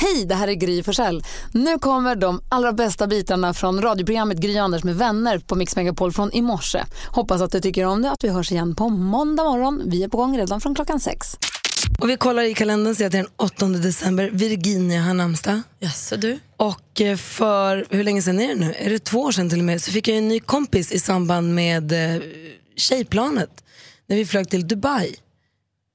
Hej, det här är Gry Forssell. Nu kommer de allra bästa bitarna från radioprogrammet Gry Anders med vänner på Mix Megapol från i morse. Hoppas att du tycker om det att vi hörs igen på måndag morgon. Vi är på gång redan från klockan sex. Och vi kollar i kalendern ser att det är den 8 december. Virginia har namnsdag. Jaså du? Och eh, för, hur länge sedan är det nu? Är det två år sedan till och med? Så fick jag en ny kompis i samband med eh, tjejplanet. När vi flög till Dubai.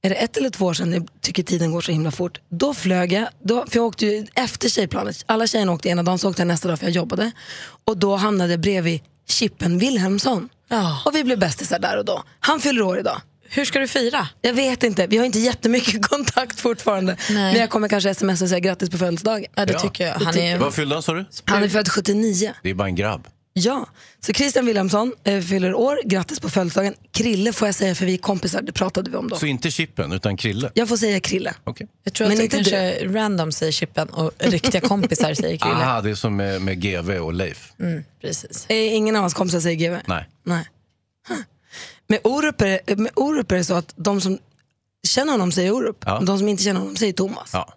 Är det ett eller två år sedan? Jag tycker tiden går så himla fort. Då flög jag, då, för jag åkte ju efter tjejplanet. Alla tjejerna åkte ena dagen, så åkte jag nästa dag för jag jobbade. Och då hamnade jag bredvid Chippen Wilhelmsson. Ja. Och vi blev bästisar där och då. Han fyller år idag. Hur ska du fira? Jag vet inte, vi har inte jättemycket kontakt fortfarande. Nej. Men jag kommer kanske sms och säga grattis på födelsedagen. Ja, det tycker jag. Han är... Vad fyllde han sa du? Han är född 79. Det är bara en grabb. Ja, så Christian Wilhelmsson eh, fyller år, grattis på födelsedagen. Krille får jag säga för vi är kompisar, det pratade vi om då. Så inte Chippen, utan Krille? Jag får säga Krille. Okej. Jag tror Men att det inte kanske random säger Chippen och riktiga kompisar säger Krille. Aha, det är som med, med GV och Leif. Precis. Eh, ingen av hans kompisar säger GW. Nej. Nej. Huh. Med Orup, är, det- med Orup är det så att de som känner honom säger Orup, Ja. de som inte känner honom säger Thomas. Ja.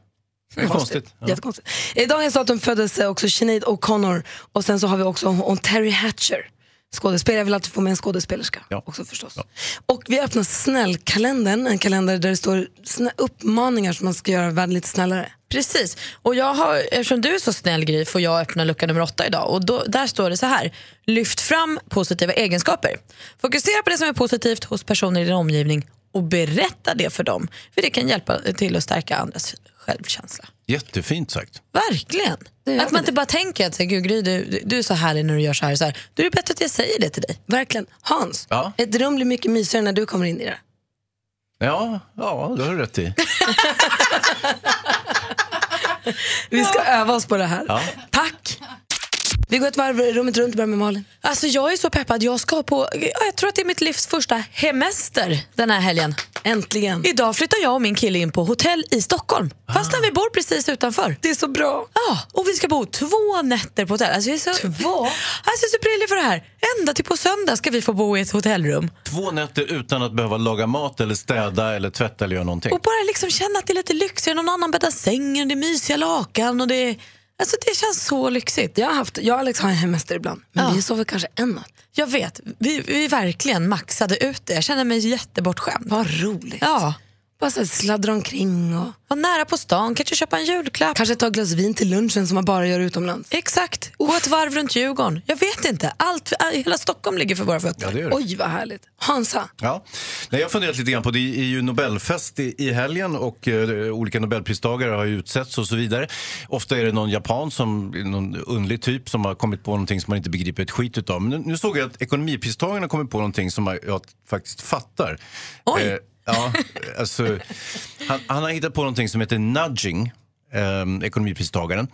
Det är konstigt. Ja. Jättekonstigt. I dagens datum föddes eh, också Sinead O'Connor och sen så har vi också hon Terry Hatcher. Skådespelare, jag vill alltid få med en skådespelerska Ja. också förstås. Och vi öppnar snällkalendern, en kalender där det står snä- uppmaningar som man ska göra världen lite snällare. Precis. Och jag har, eftersom du är så snäll Gry får jag öppna lucka nummer åtta idag. Och då, där står det så här. Lyft fram positiva egenskaper. Fokusera på det som är positivt hos personer i din omgivning och berätta det för dem. För det kan hjälpa till att stärka andras självkänsla. Jättefint sagt. Verkligen. gör Att man det. inte bara tänker att så här, Gud, Gry, du, du, du är så härlig när du gör så här. och Så här. Då är det bättre att jag säger det till dig. Verkligen. Hans, Ja. ett rum blir mycket mysigare när du kommer in i det. Ja, ja det har du rätt i. Vi ska öva oss på det här. Ja. Tack! Vi går ett varv rummet runt och börjar med Malin. Alltså jag är så peppad. Jag ska på, ja, jag tror att det är mitt livs första hemester den här helgen. Äntligen. Idag flyttar jag och min kille in på hotell i Stockholm. Fastän vi bor precis utanför. Det är så bra. Ja, och vi ska bo två nätter på hotell. Alltså jag är så, två? Alltså jag är så prillig för det här. Ända till på söndag ska vi få bo i ett hotellrum. Två nätter utan att behöva laga mat, eller städa, eller tvätta eller göra någonting. Och bara liksom känna att det är lite lyxigare. Någon annan bäddar sängen, det är mysiga lakan och det är... Alltså det känns så lyxigt. Jag, har haft, jag och Alex har en hemester ibland, men Ja. vi sover kanske en natt. Jag vet, vi, vi verkligen maxade ut det. Jag känner mig jättebortskämd. Vad roligt. Ja, Bara så här sladdra omkring och var nära på stan, kanske köpa en julklapp. kanske ta ett glas vin till lunchen som man bara gör utomlands. Exakt, gå ett varv runt Djurgården. Jag vet inte, Allt, hela Stockholm ligger för våra fötter. Ja, det gör det. Oj vad härligt. Hansa, Ja. Nej, jag har funderat lite grann på det. Det är ju Nobelfest i, i helgen och eh, olika Nobelpristagare har ju utsetts och så vidare. Ofta är det någon japan, som, någon underlig typ som har kommit på någonting som man inte begriper ett skit utav. Men nu, nu såg jag att ekonomipristagarna har kommit på någonting som jag, jag faktiskt fattar. Eh, Oj. ja, alltså, han, han har hittat på någonting som heter nudging, eh, ekonomipristagaren.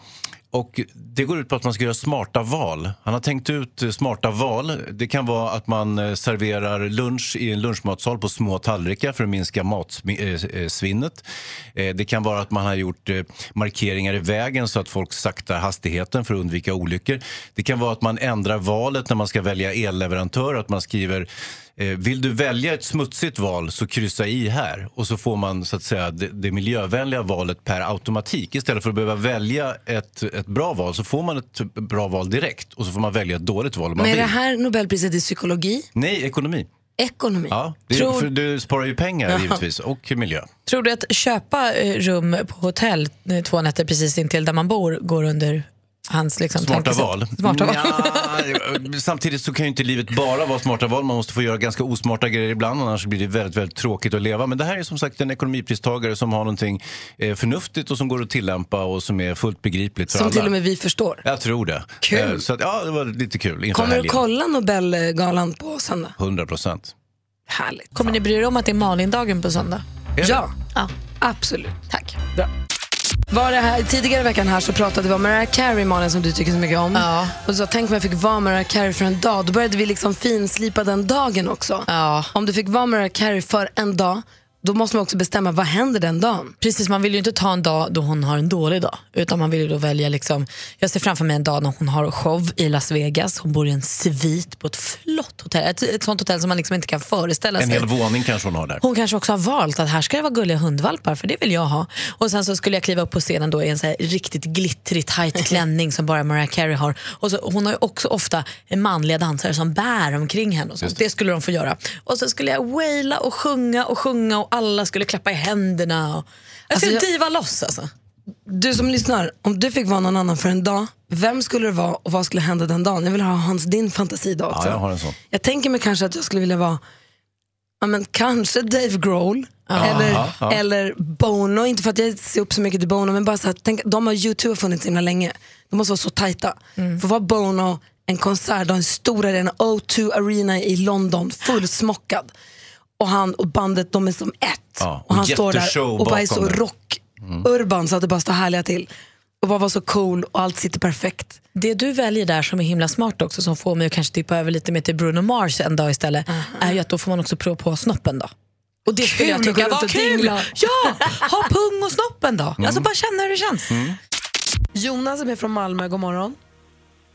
Och det går ut på att man ska göra smarta val. Han har tänkt ut eh, smarta val. Det kan vara att man eh, serverar lunch i en lunchmatsal på små tallrikar för att minska eh, matsvinnet. Eh, Det kan vara att man har gjort eh, markeringar i vägen så att folk saktar hastigheten för att undvika olyckor. Det kan vara att man ändrar valet när man ska välja elleverantör, att man skriver Eh, Vill du välja ett smutsigt val så kryssa i här och så får man så att säga det, det miljövänliga valet per automatik. Istället för att behöva välja ett, ett bra val så får man ett bra val direkt och så får man välja ett dåligt val om man med vill. det här Nobelpriset i psykologi, Nej, ekonomi. ekonomi. Ja, det, Tror- för du sparar ju pengar givetvis och miljö. Tror du att köpa eh, rum på hotell eh, två nätter precis intill där man bor går under hans liksom, Smarta tankesätt? val. Mm. Smarta val. Nja, samtidigt så kan ju inte livet bara vara smarta val. Man måste få göra ganska osmarta grejer ibland annars blir det väldigt, väldigt tråkigt att leva. Men det här är som sagt en ekonomipristagare som har någonting eh, förnuftigt och som går att tillämpa och som är fullt begripligt för Som alla. till och med vi förstår. Jag tror det. Kul. Eh, Så att, ja, det var lite kul inför Kommer du helgen. kolla Nobelgalan på söndag? 100 procent. Härligt. Kommer ni bry er om att det är Malindagen på söndag? Ja, Ja, absolut. tack. Var det här, tidigare i veckan här så pratade vi om Mariah Carey, Malin, som du tycker så mycket om. Ja. Och du sa, tänk om jag fick vara Mariah Carey för en dag. Då började vi liksom finslipa den dagen också. Ja. Om du fick vara Mariah Carey för en dag då måste man också bestämma vad händer den dagen. Precis, man vill ju inte ta en dag då hon har en dålig dag. Utan man vill ju då välja liksom, jag ser framför mig en dag när hon har show i Las Vegas. Hon bor i en svit på ett flott hotell. Ett, ett sånt hotell som man liksom inte kan föreställa En sig. hel våning kanske hon har där. Hon kanske också har valt att här ska det vara gulliga hundvalpar för det vill jag ha. Och sen så skulle jag kliva upp på scenen då i en så här riktigt glittrig tight klänning som bara Mariah Carey har. Och så, hon har ju också ofta manliga dansare som bär omkring henne och sånt. Det skulle de få göra. Och så skulle jag waila och sjunga och sjunga och alla skulle klappa i händerna. Och... Jag skulle Alltså, diva loss alltså. Du som lyssnar, om du fick vara någon annan för en dag, vem skulle det vara och vad skulle hända den dagen? Jag vill ha hans, din fantasidag också. Ja, jag har en sån. Jag tänker mig kanske att jag skulle vilja vara ja, men kanske Dave Grohl eller, ja. eller Bono. Inte för att jag ser upp så mycket till Bono, men bara så här, tänk, de har U2 har funnits så himla länge. De måste vara så tajta. Mm. För vad Bono, en konsert, då, en stor arena, O2 Arena i London, fullsmockad. Och han och bandet, de är som ett. Ja, och han och står där jätteshow och bara är så bakom det. rock-urban så att det bara står härliga till. Och bara var så cool och allt sitter perfekt. Det du väljer där som är himla smart också som får mig att kanske tippa över lite mer till Bruno Mars en dag istället är ju att då får man också prova på snoppen då. Och det skulle jag Kul, gå tycka runt var och kul. dingla. Ja, ha pung och snoppen då. Mm. Alltså bara känna hur det känns. Jonas som är från Malmö, god morgon.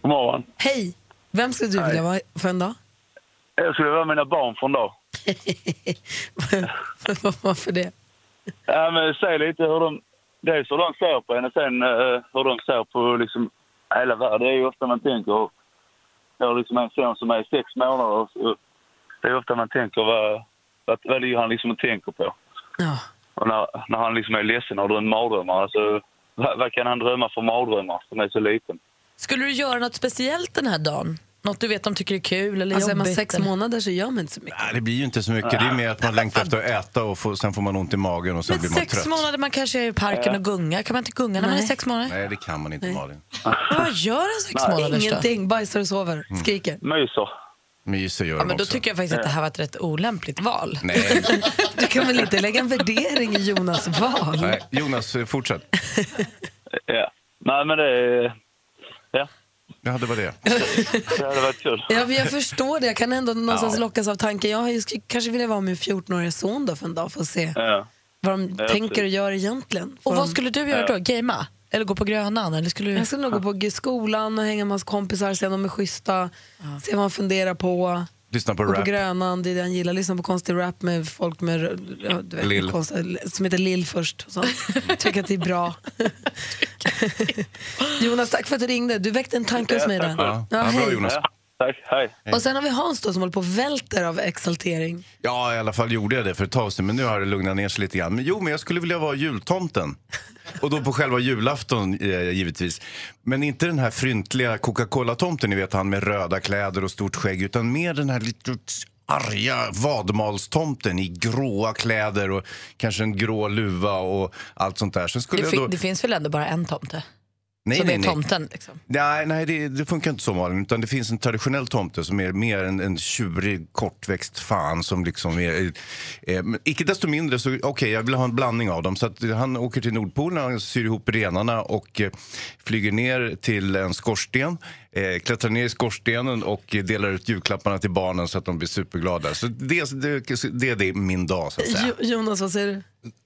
God morgon. Hej! Vem skulle du vilja vara för en dag? Jag skulle vara mina barn från dag. Varför det? Ja, men säg lite hur de... Dels hur de ser på en och sen eh, hur de ser på liksom hela världen. Det är ju ofta man tänker... Jag har liksom en son som är sex månader. Och, och det är ofta man tänker vad, vad, vad det är han liksom tänker på. Ja. Och när, när han liksom är ledsen och drömmer mardrömmar. Alltså, vad, vad kan han drömma för mardrömmar som är så liten? Skulle du göra något speciellt den här dagen? Något du vet de tycker är kul eller Alltså är jobbigt? man sex eller? månader så gör man inte så mycket. Nej, det blir ju inte så mycket. Det är mer att man längtar efter att äta och får, sen får man ont i magen och sen men blir man sex trött. månader, man kanske är i parken och gungar. Kan man inte gunga när man är sex månader? Nej, det kan man inte, Malin. Men Vad gör en sex månaders då? Ingenting, bajsar och sover, skriker. Myser. Myser gör Ja, de men då också. tycker jag faktiskt att det här var ett rätt olämpligt val. Nej, Du kan väl inte lägga en värdering i Jonas val? nej. Jonas, eh, fortsätt. Ja. Nej, men det... är- Ja, Ja, det var det. det hade varit kul. Ja, men jag förstår det. Jag kan ändå någonstans lockas av tanken. Jag har ju sk- kanske vill vara min 14-åriga son då för en dag för att se Ja. vad de Ja, tänker och precis. gör egentligen. Får Och vad de- skulle du göra då? Gamea? Eller gå på Grönan? Eller Mm. skulle du... Jag skulle nog gå på g- skolan och hänga med hans kompisar, se om de är schyssta, se vad han funderar på. Lyssna på Gå på rap. Grönan, det är det han gillar. Lyssna på konstig rap med folk med, ja, du vet, Lill. konstiga- som heter Lill först. Och sånt. Tycker att det är bra. Jonas, tack för att du ringde. Du väckte en tanke hos mig där. Ja, ja, bra hej. Jonas. Ja, tack. Hej. Och sen har vi Hans då, som håller på och välter av exaltering. Ja, i alla fall gjorde jag det för ett tag sedan, men nu har det lugnat ner sig lite grann. Men jo, men jag skulle vilja vara jultomten. Och då på själva julafton, eh, givetvis. Men inte den här fryntliga Coca-Cola-tomten, ni vet han med röda kläder och stort skägg, utan mer den här lite arga vadmalstomten i gråa kläder och kanske en grå luva och allt sånt där. Sen skulle Det, jag då... fin- det finns väl ändå bara en tomte? nej, som nej, är nej. tomten liksom. Nej, nej det, det funkar inte så Malin. Utan det finns en traditionell tomte som är mer en, en tjurig, kortväxt fan som liksom är... Eh, men icke desto mindre så, okej, jag vill ha en blandning av dem. Så att eh, han åker till Nordpolen, han syr ihop renarna och eh, flyger ner till en skorsten. Eh, klättrar ner i skorstenen och eh, delar ut julklapparna till barnen så att de blir superglada. Så det, det, det, det är min dag så att säga. Jo, Jonas, vad säger du?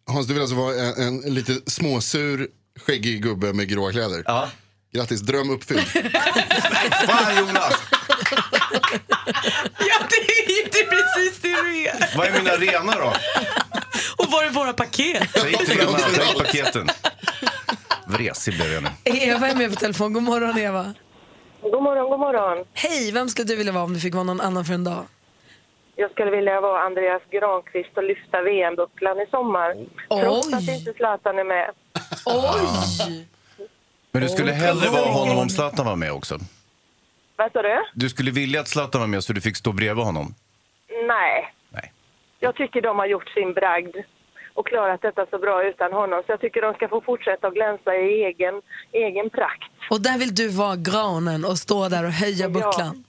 Hans, du vill alltså vara en, en lite småsur, skäggig gubbe med gråa kläder? Ja. Grattis, dröm uppfylld. Fan Jonas! Ja, det är inte precis det du är. Vad är mina renar då? Och var är våra paket? Säg inte renarna, säg paketen. Vresig blev jag nu. Eva är med på telefon. God morgon, Eva. God morgon, god morgon. Hej, vem skulle du vilja vara om du fick vara någon annan för en dag? Jag skulle vilja vara Andreas Granqvist och lyfta VM-bucklan i sommar. Trots att inte Zlatan är med. Oj! Men du skulle hellre vara honom om Zlatan var med också? Vad sa du? Du skulle vilja att Zlatan var med så du fick stå bredvid honom? Nej. Nej. Jag tycker de har gjort sin bragd och klarat detta så bra utan honom. Så jag tycker de ska få fortsätta att glänsa i egen, egen prakt. Och där vill du vara granen och stå där och höja bucklan.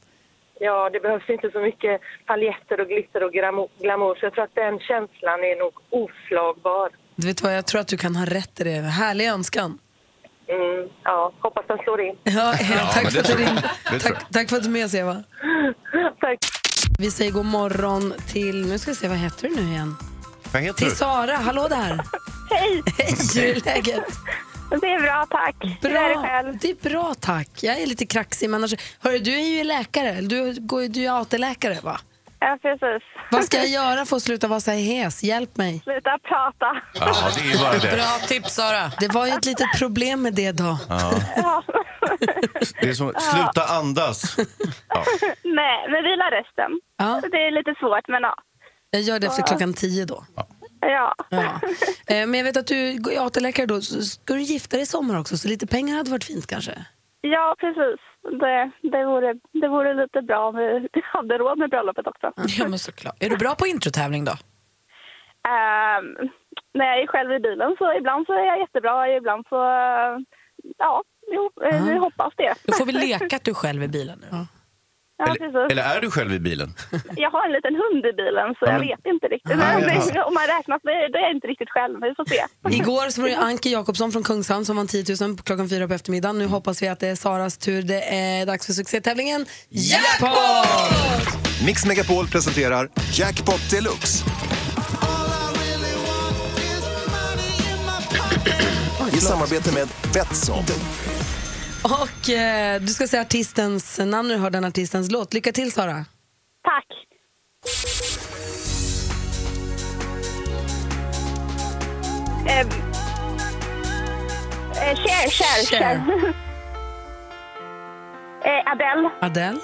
Ja, det behövs inte så mycket paljetter och glitter och gramo- glamour. Så jag tror att den känslan är nog oslagbar. Du vet vad, jag tror att du kan ha rätt i det. Härlig önskan. Mm, ja, hoppas den slår in. Ja, tack, för men det att du tror jag. ringde. Det tror tack, tack för att du är med oss, Eva. Tack. Vi säger god morgon till... Nu ska vi se, vad heter du nu igen? Vad heter Till du? Sara, hallå där. Hej! Hej, hur är läget? Det är bra, tack. Hur är det själv? det är bra tack. Jag är lite kraxig men annars... Hörru, du är ju läkare, du, går, ju- du är AT-läkare va? Ja, precis. Vad ska jag göra för att sluta vara så här hes? Hjälp mig. Sluta prata. Ja, det är ju bara det. Bra tips Sara. Det var ju ett litet problem med det då. Ja. det är som, sluta andas. Nej, men vila resten. Ja. Det är lite svårt, men ja. Jag gör det efter klockan tio då. Ja, Ja. Eh, Men jag vet att du är AT-läkare då, så ska du gifta dig i sommar också så lite pengar hade varit fint kanske? ja precis. Det, det, vore, det vore lite bra om vi hade råd med bröllopet också. Ja, men såklart. Är du bra på introtävling då? Ehm, när jag är själv i bilen så ibland så är jag jättebra, ibland så... eh, Ja, jo, eh, vi hoppas det. Då får vi leka att du är själv i bilen nu. Ja, precis. Eller, eller är du själv i bilen? Jag har en liten hund i bilen så Ja, jag men- vet inte riktigt. Nej, Men jaha. det, om man räknas då är då är jag inte riktigt själv, men vi får se. Igår så var det Anke Jakobsson från Kungshamn som vann 10 000 på klockan fyra på eftermiddagen. Nu hoppas vi att det är Saras tur. Det är dags för succétävlingen Jackpot! Mix Megapol presenterar Jackpot Deluxe. I samarbete med Betsson. Och eh, du ska säga artistens namn när du hör den artistens låt. Lycka till Sara! Tack! Ehm. Eh, Cher, Cher, Cher. eh, Adele. Adele?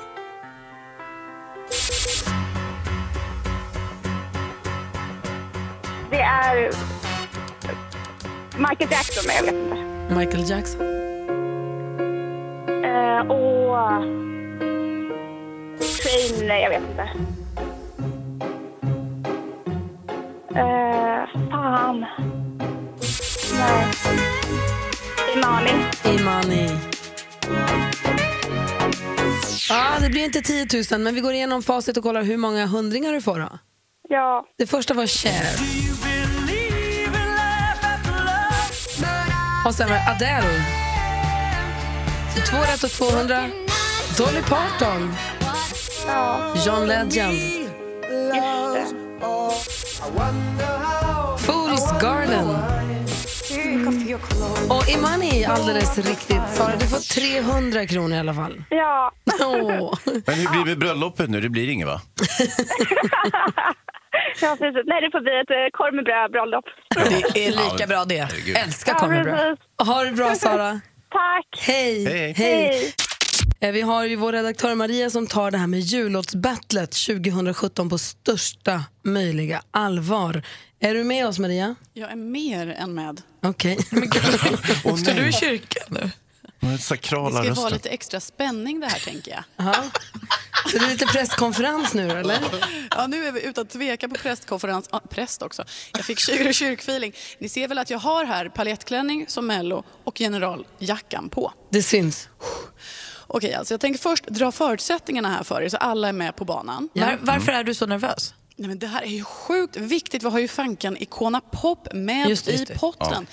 Det är Michael Jackson, men jag vet inte. Michael Jackson? Eh, och... Train, nej, jag vet inte. Eh, fan. Nej. Imani. Imani? Ah, det blir inte 10 000 men vi går igenom facit och kollar hur många hundringar du får då. Ja. Det första var Cher. Och sen var det Adele. Så Två rätt och 200. Dolly Parton. ja. John Legend. Just det. Fools Garden. Och Imani är alldeles riktigt. Sara, du får 300 kronor i alla fall. Ja. Åh. Men hur blir det med bröllopet nu? Det blir inget, va? ja, precis. Nej, det får bli ett eh, korv med bröd bröllop. Det är Ja, lika men- bra det. herregud. Älskar Ja, kommer bra. precis. Ha det bra, Sara. Tack! Hej. Hej. Hej! Eh, Vi har ju vår redaktör Maria som tar det här med jullåtsbattlet 2017 på största möjliga allvar. Är du med oss, Maria? Jag är mer än med. Okej. Står du i kyrkan nu? Den sakrala Det ska vara rösten. lite extra spänning det här tänker jag. Ja. Så det är lite presskonferens nu, eller? Ja, nu är vi utan tvekan på prästkonferens. Ah, präst också. Jag fick tjur och kyrkfeeling. Ni ser väl att jag har här palettklänning som Mello och generaljackan på. Det syns. Okej, alltså jag tänker först dra förutsättningarna här för er så alla är med på banan. Var, varför är du så nervös? Nej, men det här är ju sjukt viktigt. Vi har ju fanken Icona Pop med Just det, just det. i potten.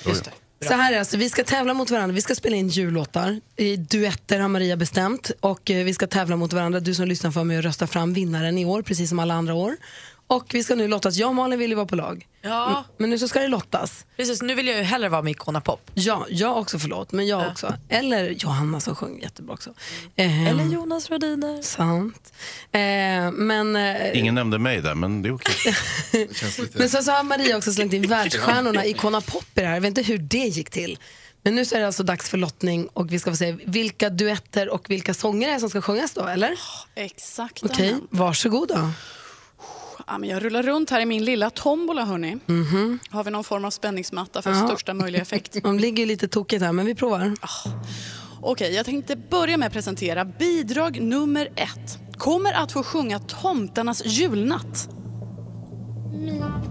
Så här är alltså, vi ska tävla mot varandra. Vi ska spela in jullåtar. I duetter har Maria bestämt. Och eh, vi ska tävla mot varandra. Du som lyssnar får med och rösta fram vinnaren i år, precis som alla andra år. Och vi ska nu lottas. Jag och Malin vill ju vara på lag. Mm. Ja. Men nu så ska det lottas. Precis, nu vill jag ju hellre vara med Icona Pop. Ja, jag också förlåt, men jag också. Eller Johanna som sjöng jättebra också. Ehm, Mm. Eller Jonas Rhodiner. Sant. Ehm, men, eh, Ingen nämnde mig där, men det är okej. men sen så har Maria också slängt in världsstjärnorna, Icona Pop i det här. Jag vet inte hur det gick till. Men nu så är det alltså dags för lottning och vi ska få se vilka duetter och vilka sånger det är som ska sjungas då, eller? Exakt. Okej, Anna. varsågod då. Ja, men jag rullar runt här i min lilla tombola, hörni. Mhm. Har vi någon form av spänningsmatta för största möjliga effekt? De ligger ju lite tokigt här, men vi provar. Okej, jag tänkte börja med att presentera bidrag nummer ett. Kommer att få sjunga Tomtarnas julnatt. Midnatt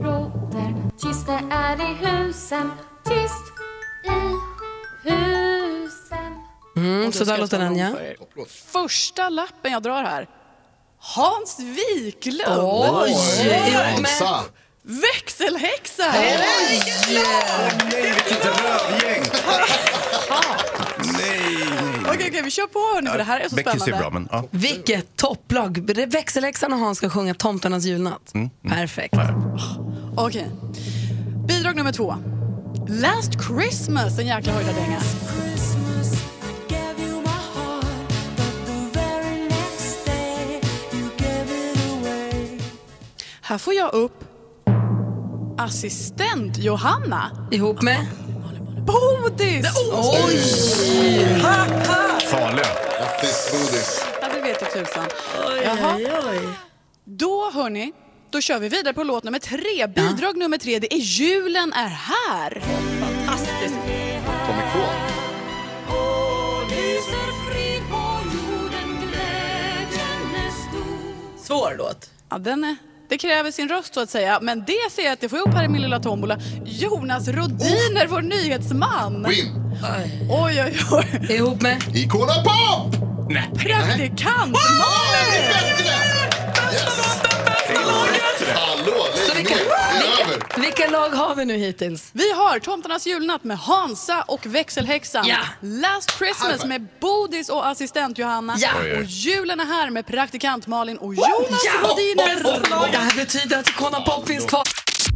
råder, tyst det är i husen, tyst i husen. Mm, så Ska där jag låter tala om den ja. för er. Första lappen jag drar här. Hans Wiklund. Oj! Åh, Men- Hansa. Växelhäxa! Vilket rövgäng! Nej, nej. Okej, okej, vi kör på hörni, för det här är så Beckis spännande. är bra, men... Ja. Mm, Vilket topplag! Växelhäxan och han ska sjunga Tomtarnas julnatt. Perfekt. Okej. Bidrag nummer två. Last Christmas, en jäkla höjdardänga. Här får jag upp assistent Johanna. Ihop med? Bodis! Oj! Ha, ha. Farliga. Grattis, Bodis. Ja, det vet jag tusan. Då hörni, då kör vi vidare på låt nummer tre. Bidrag nummer tre, det är Julen är här. Fantastiskt. Kom ikån. Svår låt. Ja, den är, det kräver sin röst så att säga. Men det ser jag att det får jag upp här i min lilla tombola. Jonas Rodiner, vår nyhetsman. Win. Oj, oj, oj. Ihop med? Icona Pop! Praktikant Det Malin! är bättre! Yes! Hallå, lägg ner. Det är över. Vilka lag har vi nu hittills? Vi har Tomtarnas julnatt med Hansa och växelhäxan. Ja. Last Christmas High med Bodis och assistent Johanna. Ja. Oj, oj. Och julen är här med praktikant Malin och Jonas Rodiner. Det här betyder att Icona Pop finns kvar.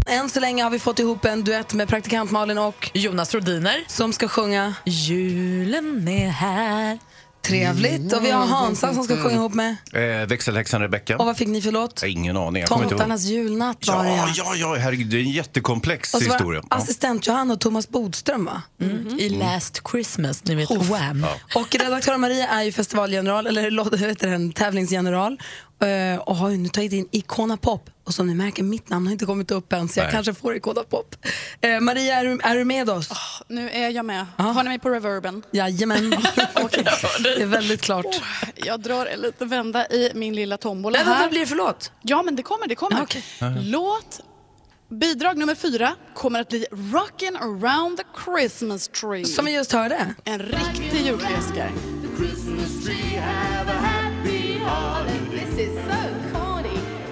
Än så länge har vi fått ihop en duett med praktikant Malin och Jonas Rodiner. som ska sjunga Julen är här. trevligt. Och vi har Hansa som ska sjunga ihop med. Eh, växelhäxan Rebecka. Och vad fick ni för låt? Jag har Ingen aning. Jag kommer inte ihåg. Tomtarnas julnatt var det Ja, ja, ja, herregud. Det är en jättekomplex Och så var historia. det Ja. assistent Johanna och Thomas Bodström va? I Mm. Last Christmas, ni vet Wham. Och redaktör Maria är ju festivalgeneral, eller låt- vad heter den, tävlingsgeneral eh, och har ju nu tagit in Icona Pop. Och som ni märker, mitt namn har inte kommit upp än så jag Nej. kanske får Icona Pop. Eh, Maria, är du, är du med oss? Nu är jag med. Har ni mig på reverben? Jajamän. Det är väldigt klart. Jag drar en liten vända i min lilla tombola Men vad här. blir det för låt? Ja, men det kommer, det kommer. Ja, okej. Låt bidrag nummer fyra kommer att bli Rockin' around the Christmas tree. Som vi just hörde. En riktig julklassiker.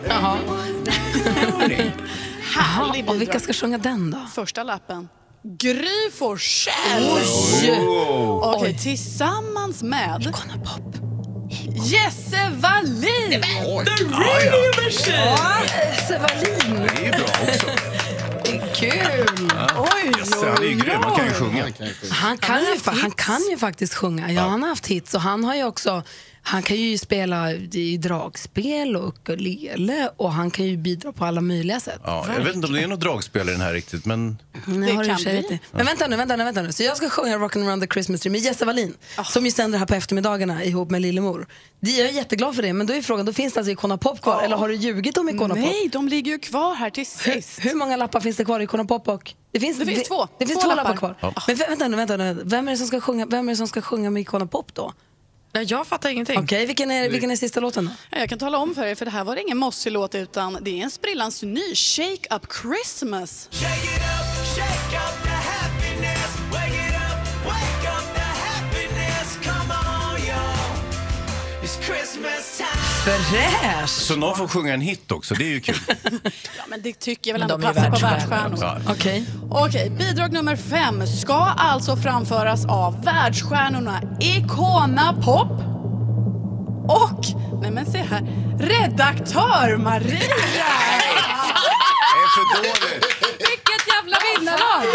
Jaha. Härlig bidrag. Och vilka ska sjunga den då? Första lappen. Gry Forssell! Okej, tillsammans med... Icona Pop. Jesse Wallin! Ja, ja. Ja, Esse Wallin. Det är ju bra också. Kul. Oj, Så han är ju grym. Han kan ju sjunga. Han kan, ju, fa- han kan ju faktiskt sjunga. Ja, Han har haft hits och han har ju också han kan ju spela i dragspel och ukulele och han kan ju bidra på alla möjliga sätt. Ja, jag vet inte om det är något dragspel i den här riktigt, men Nej, Det har du i och för sig kan rätt i. Men vänta nu, vänta nu, vänta nu. Så jag ska sjunga Rockin' around the Christmas tree med Jesse Wallin Ah. som ju sänder här på eftermiddagarna ihop med Lillemor. Det- Jag är jätteglad för det, men då är frågan, då finns det alltså Icona Pop kvar eller har du ljugit om Icona Pop? Nej, de ligger ju kvar här till sist. Hur många lappar finns det kvar i Icona Pop och? Det finns, Det finns två. Det finns Två två, lappar, lappar. kvar. Ja. Men vä- vänta nu, vänta nu. Vem är det som ska sjunga, vem är det som ska sjunga med Icona Pop då? Jag fattar ingenting. Okej, vilken, är, vilken är sista låten då? Ja, Jag kan tala om för er, för det här var ingen mossig låt utan det är en sprillans ny Shake Up Christmas. Fräsch! så någon får sjunga en hit också. Det är ju kul. Ja, men det tycker jag väl Men ändå de är ju passar på världsstjärnor. världsstjärnor. Ja. Okej. Okej, bidrag nummer fem ska alltså framföras av världsstjärnorna Icona Pop och, nej men se här, redaktör Maria! Det är för dåligt. Vilket jävla vinnarlag!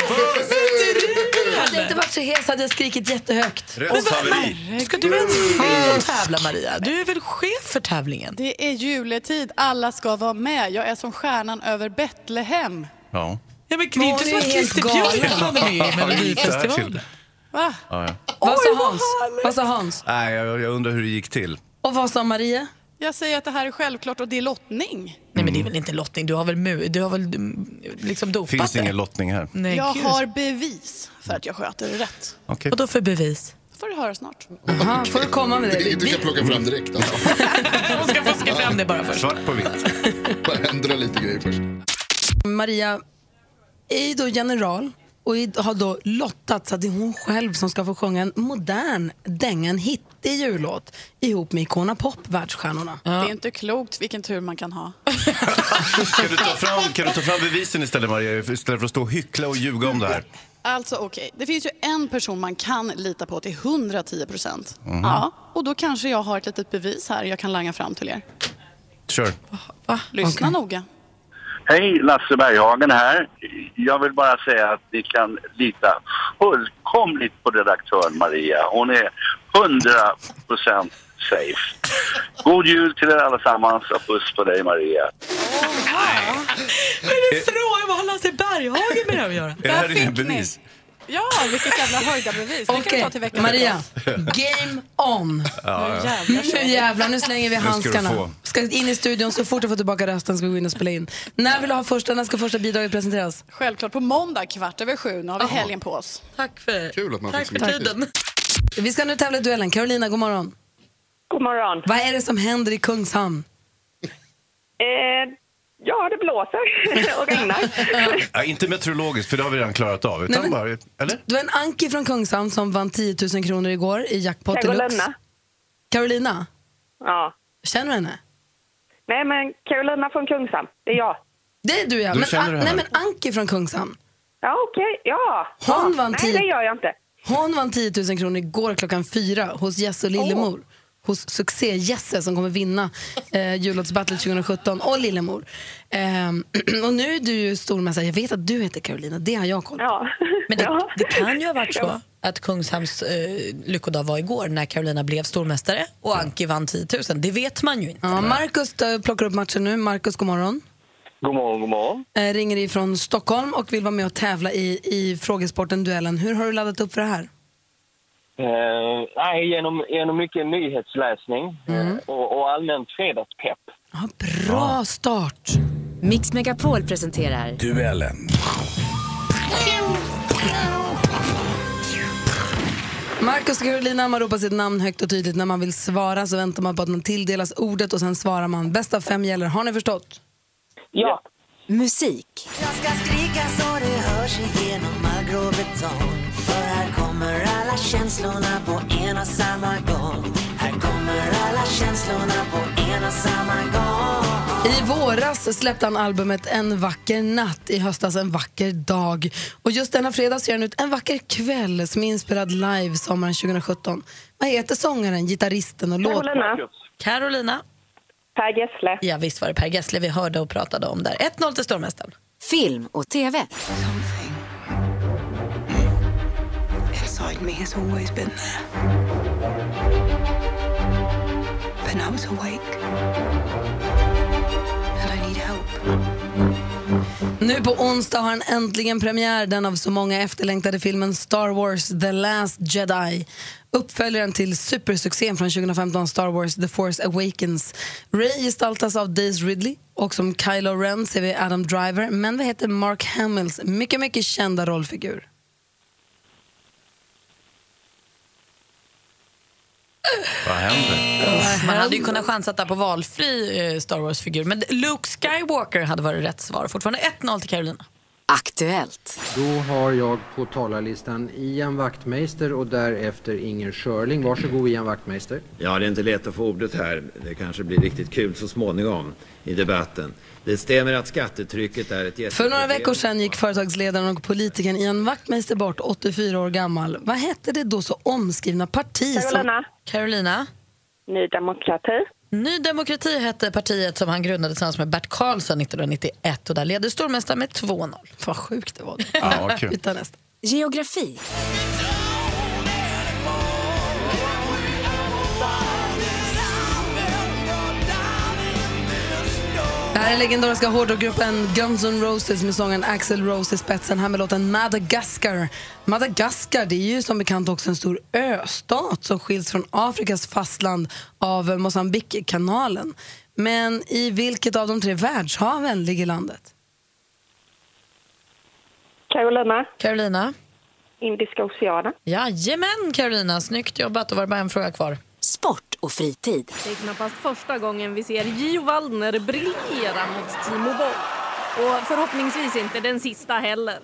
Hade jag inte varit så hes hade jag skrikit jättehögt. Rättshaveri. Ska du ens få tävla Maria? Du är väl chef för tävlingen? Det är juletid, alla ska vara med. Jag är som stjärnan över Betlehem. Ja. Ja, men det är inte Hon som är att helt Christer galen. Björkman var med i Melodifestivalen. Va? Vad sa Hans? Vad sa Hans? Nej, jag, jag undrar hur det gick till. Och vad sa Maria? Jag säger att det här är självklart och det är lottning. Nej, Mm. men det är väl inte lottning? Du har väl, mu- du har väl mm, liksom dopat Finns det ingen lottning här? Nej, Jag gud. har bevis för att jag sköter det rätt. Okej. Vadå för bevis? Det får du höra snart. Aha, får du komma med Det är det? inget du kan plocka fram direkt. Alltså. Hon ska fuska fram det bara först. Svart på vitt. Bara ändra lite grejer först. Maria är då general och är- har då lottat så att det är hon själv som ska få sjunga en modern dänga, en hittig jullåt ihop med Icona Pop, världsstjärnorna. Det är inte klokt vilken tur man kan ha. Kan du, ta fram, kan du ta fram bevisen istället Maria, istället för att stå och hyckla och ljuga om det här? Alltså okej, det finns ju en person man kan lita på till 110 procent. Mhm. Ja, och då kanske jag har ett litet bevis här jag kan langa fram till er. Kör. Lyssna noga. Hej, Lasse Berghagen här. Jag vill bara säga att ni kan lita fullkomligt på redaktören Maria. Hon är 100% safe. God jul till er allesammans och puss på dig Maria. Vad är det frågan? Vad har Lasse Berghagen med det här att göra? Eh. Är det här dina bevis? Ja, vilket jävla höjda bevis. Det kan vi Okej, ta till veckan. Maria. Game on! Ja, ja. Nu jävlar, nu slänger vi Nu ska du handskarna. få. Ska in i studion så fort du får tillbaka rösten ska vi gå in och spela in. När vill du ha första, när ska första bidraget presenteras? Självklart på måndag kvart över sju. Nu har vi helgen på oss. Tack för, Kul att man Tack fick för så mycket tid. Vi ska nu tävla i duellen. Carolina, god morgon. God morgon. Vad är det som händer i Kungshamn? Eh, ja, det blåser och regnar. Ja, inte meteorologiskt, för det har vi redan klarat av. Utan Nej, men- bara, eller? Du är en Anki från Kungshamn som vann 10 000 kronor igår i jackpot Jag går och deluxe. lämnar. Carolina, Ja. känner du henne? Nej, men Carolina från Kungshamn, det är jag. Det är du ja. Då Men, känner du nej, henne. men Anki från Kungshamn. Ja, okej. Ja. Hon ja. vann Nej, tio- det gör jag inte. Hon vann 10 000 kronor igår klockan fyra hos Jesse och Lillemor. Hos succé-Jesse som kommer vinna eh, jullåtsbattlet 2017 och Lillemor. Ehm, och nu är du ju stormästare. Jag vet att du heter Carolina, det har jag koll på. Men det, det kan ju ha varit så att Kungshamns eh, lyckodag var igår när Carolina blev stormästare och Mm. Anki vann 10 000. Det vet man ju inte. Ja, Marcus eh, plockar upp matchen nu. Marcus, god morgon. God morgon, god morgon. Eh, ringer ifrån Stockholm och vill vara med och tävla i, i frågesporten Duellen. Hur har du laddat upp för det här? Eh, nej, genom, genom mycket nyhetsläsning eh, och, och allmänt fredagspepp. Bra start! Mix Megapol presenterar... Duellen. Marcus och Carolina, man ropar sitt namn högt och tydligt när man vill svara så väntar man på att man tilldelas ordet och sen svarar man. Bäst av fem gäller, har ni förstått? Ja. Musik. Jag ska skrika så det hörs igenom all grå betong För här kommer alla känslorna på en och samma gång Här kommer alla känslorna på en och samma gång I våras släppte han albumet En vacker natt, i höstas En vacker dag. Och just denna fredag ser han ut En vacker kväll som är inspelad live sommaren 2017. Vad heter sångaren, gitarristen och låt... Carolina. Per Gessle. Ja, visst var det Per Gessle vi hörde och pratade om där. 1-0 till stormästaren. Film och TV. Inside me has always been there. But now it's awake. And I need help. Nu på onsdag har han äntligen premiär, den av så många efterlängtade filmen Star Wars The Last Jedi. Uppföljaren till supersuccén från 2015 Star Wars The Force Awakens. Ray gestaltas av Daisy Ridley och som Kylo Ren ser vi Adam Driver. Men vad heter Mark Hamills mycket, mycket kända rollfigur? Vad händer? Man hade ju kunnat chansa där på valfri eh, Star Wars-figur. Men Luke Skywalker hade varit rätt svar. Fortfarande 1-0 till Carolina. Aktuellt. Då har jag på talarlistan Ian Wachtmeister och därefter Inger Schörling. Varsågod Ian Wachtmeister. Ja, det är inte lätt att få ordet här. Det kanske blir riktigt kul så småningom i debatten. Det stämmer att skattetrycket är ett jätteproblem. För några veckor sedan gick företagsledaren och politikern Ian Wachtmeister bort, 84 år gammal. Vad hette det då så omskrivna parti Carolina. som... Carolina. Ny demokrati. Ny demokrati hette partiet som han grundade tillsammans med Bert Karlsson 1991 och där ledde stormästaren med 2-0. Vad sjukt det var. då. Ja, Vi vad kul. tar nästa. Geografi. Det här är legendariska hårdrockgruppen Guns N' Roses med sången Axel Rose i spetsen här med låten Madagaskar. Madagaskar det är ju som bekant också en stor östat som skiljs från Afrikas fastland av Mozambikkanalen. Men i vilket av de tre världshaven ligger landet? Carolina. Carolina. Indiska oceanen. Jajamän Carolina, snyggt jobbat. Då var det bara en fråga kvar. Sport och fritid. Det är knappast första gången vi ser Gio Waldner briljera mot Timo Boll. Och förhoppningsvis inte den sista heller.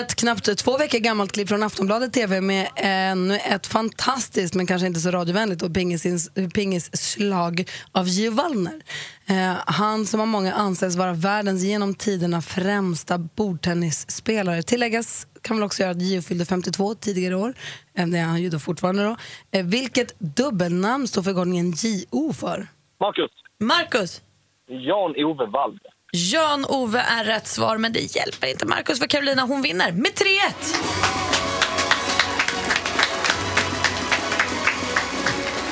Ett knappt två veckor gammalt klipp från Aftonbladet TV med ännu ett fantastiskt men kanske inte så radiovänligt och pingisins- pingisslag av Gio Wallner. Eh, han som av många anses vara världens genom tiderna främsta bordtennisspelare. Tilläggas kan väl också göra att Gio fyllde 52 tidigare i år. Eh, det är han ju då fortfarande. Då. Eh, vilket dubbelnamn står förkortningen JO för? Marcus. Marcus. Jan-Ove Wallner. Jan-Ove är rätt svar, men det hjälper inte Markus för Carolina hon vinner med 3-1.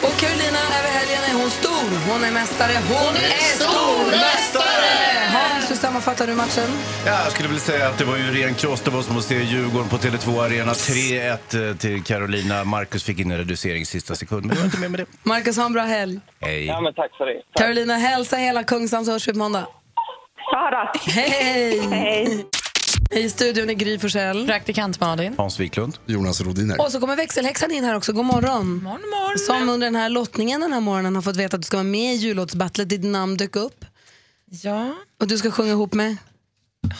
Och Carolina över helgen är hon stor. Hon är mästare. Hon, är stormästare! Hans, hur sammanfattar du matchen? Ja, jag skulle vilja säga att det var ju ren kross. Det var som att se Djurgården på Tele2 Arena. 3-1 eh, till Carolina. Marcus fick in en reducering sista sekund, men jag var inte med med det. Marcus, ha en bra helg. Hej. Ja, men tack för det. Carolina, hälsa hela Kungshamn så hörs vi på måndag. Ja Hej! Hej! I studion är Gry Forssell. Praktikant Malin. Hans Wiklund. Jonas Rodiner. Och så kommer växelhäxan in här också. God morgon. morgon, morgon. Som under den här lottningen den här morgonen har fått veta att du ska vara med i jullåtsbattlet. Ditt namn dök upp. Ja. Och du ska sjunga ihop med?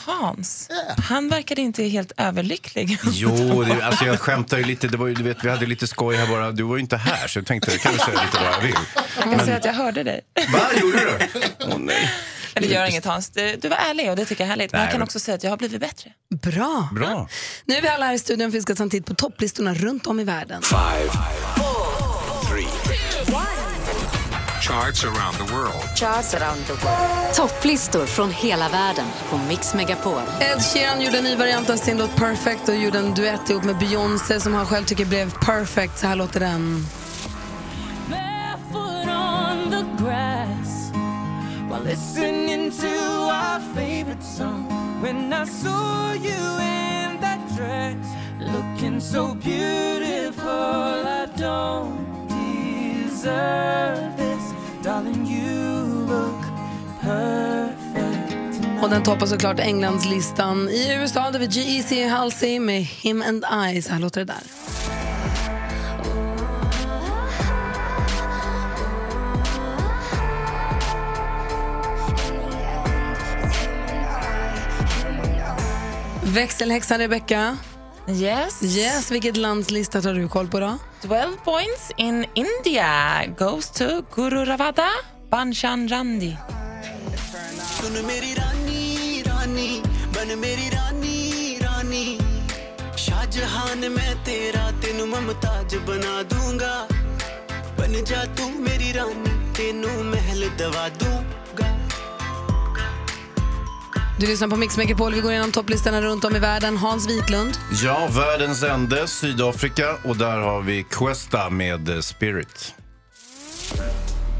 Hans, han verkade inte helt överlycklig. Jo, det, alltså jag skämtar ju lite. Det var ju, du vet, vi hade lite skoj här bara. Du var ju inte här, så jag tänkte jag kan ju säga lite vad jag vill. Jag kan säga att jag hörde dig. Va, gjorde du? Åh nej. Eller gör inget Hans, du, du var ärlig och det tycker jag är härligt. Men Nej, jag kan men- också säga att jag har blivit bättre. Bra. Bra. Nu är vi alla här i studion för vi ska ta en titt på topplistorna runt om i världen. Five, three. Charts around the world. Topplistor från hela världen på Mix Megapol. Ed Sheeran gjorde en ny variant av sin låt Perfect och gjorde en duett ihop med Beyoncé som han själv tycker blev perfect. Så här låter den. Barefoot on the grass while listening to our favorite song. When I saw you in that dress, looking so beautiful, I don't deserve this. Darling, you look perfect. Och den toppar såklart Englandslistan. I USA där vi E G.E.C. Halsey med Him and I. Så här låter det där. Växelhäxan Rebecca. Yes. Yes, vilket landslista tar du koll på då? 12 points in India goes to Guru Ravada Banshan Randi. सुन मेरी रानी रानी बन मेरी रानी रानी शाहजहान मैं तेरा तेन ममताज बना दूंगा बन जा तू मेरी रानी तेनू महल दवा दूंगा Du lyssnar på Mix Megapol. Vi går igenom topplistorna runt om i världen. Hans Wiklund. Ja, världens ände, Sydafrika. Och där har vi Questa med eh, Spirit.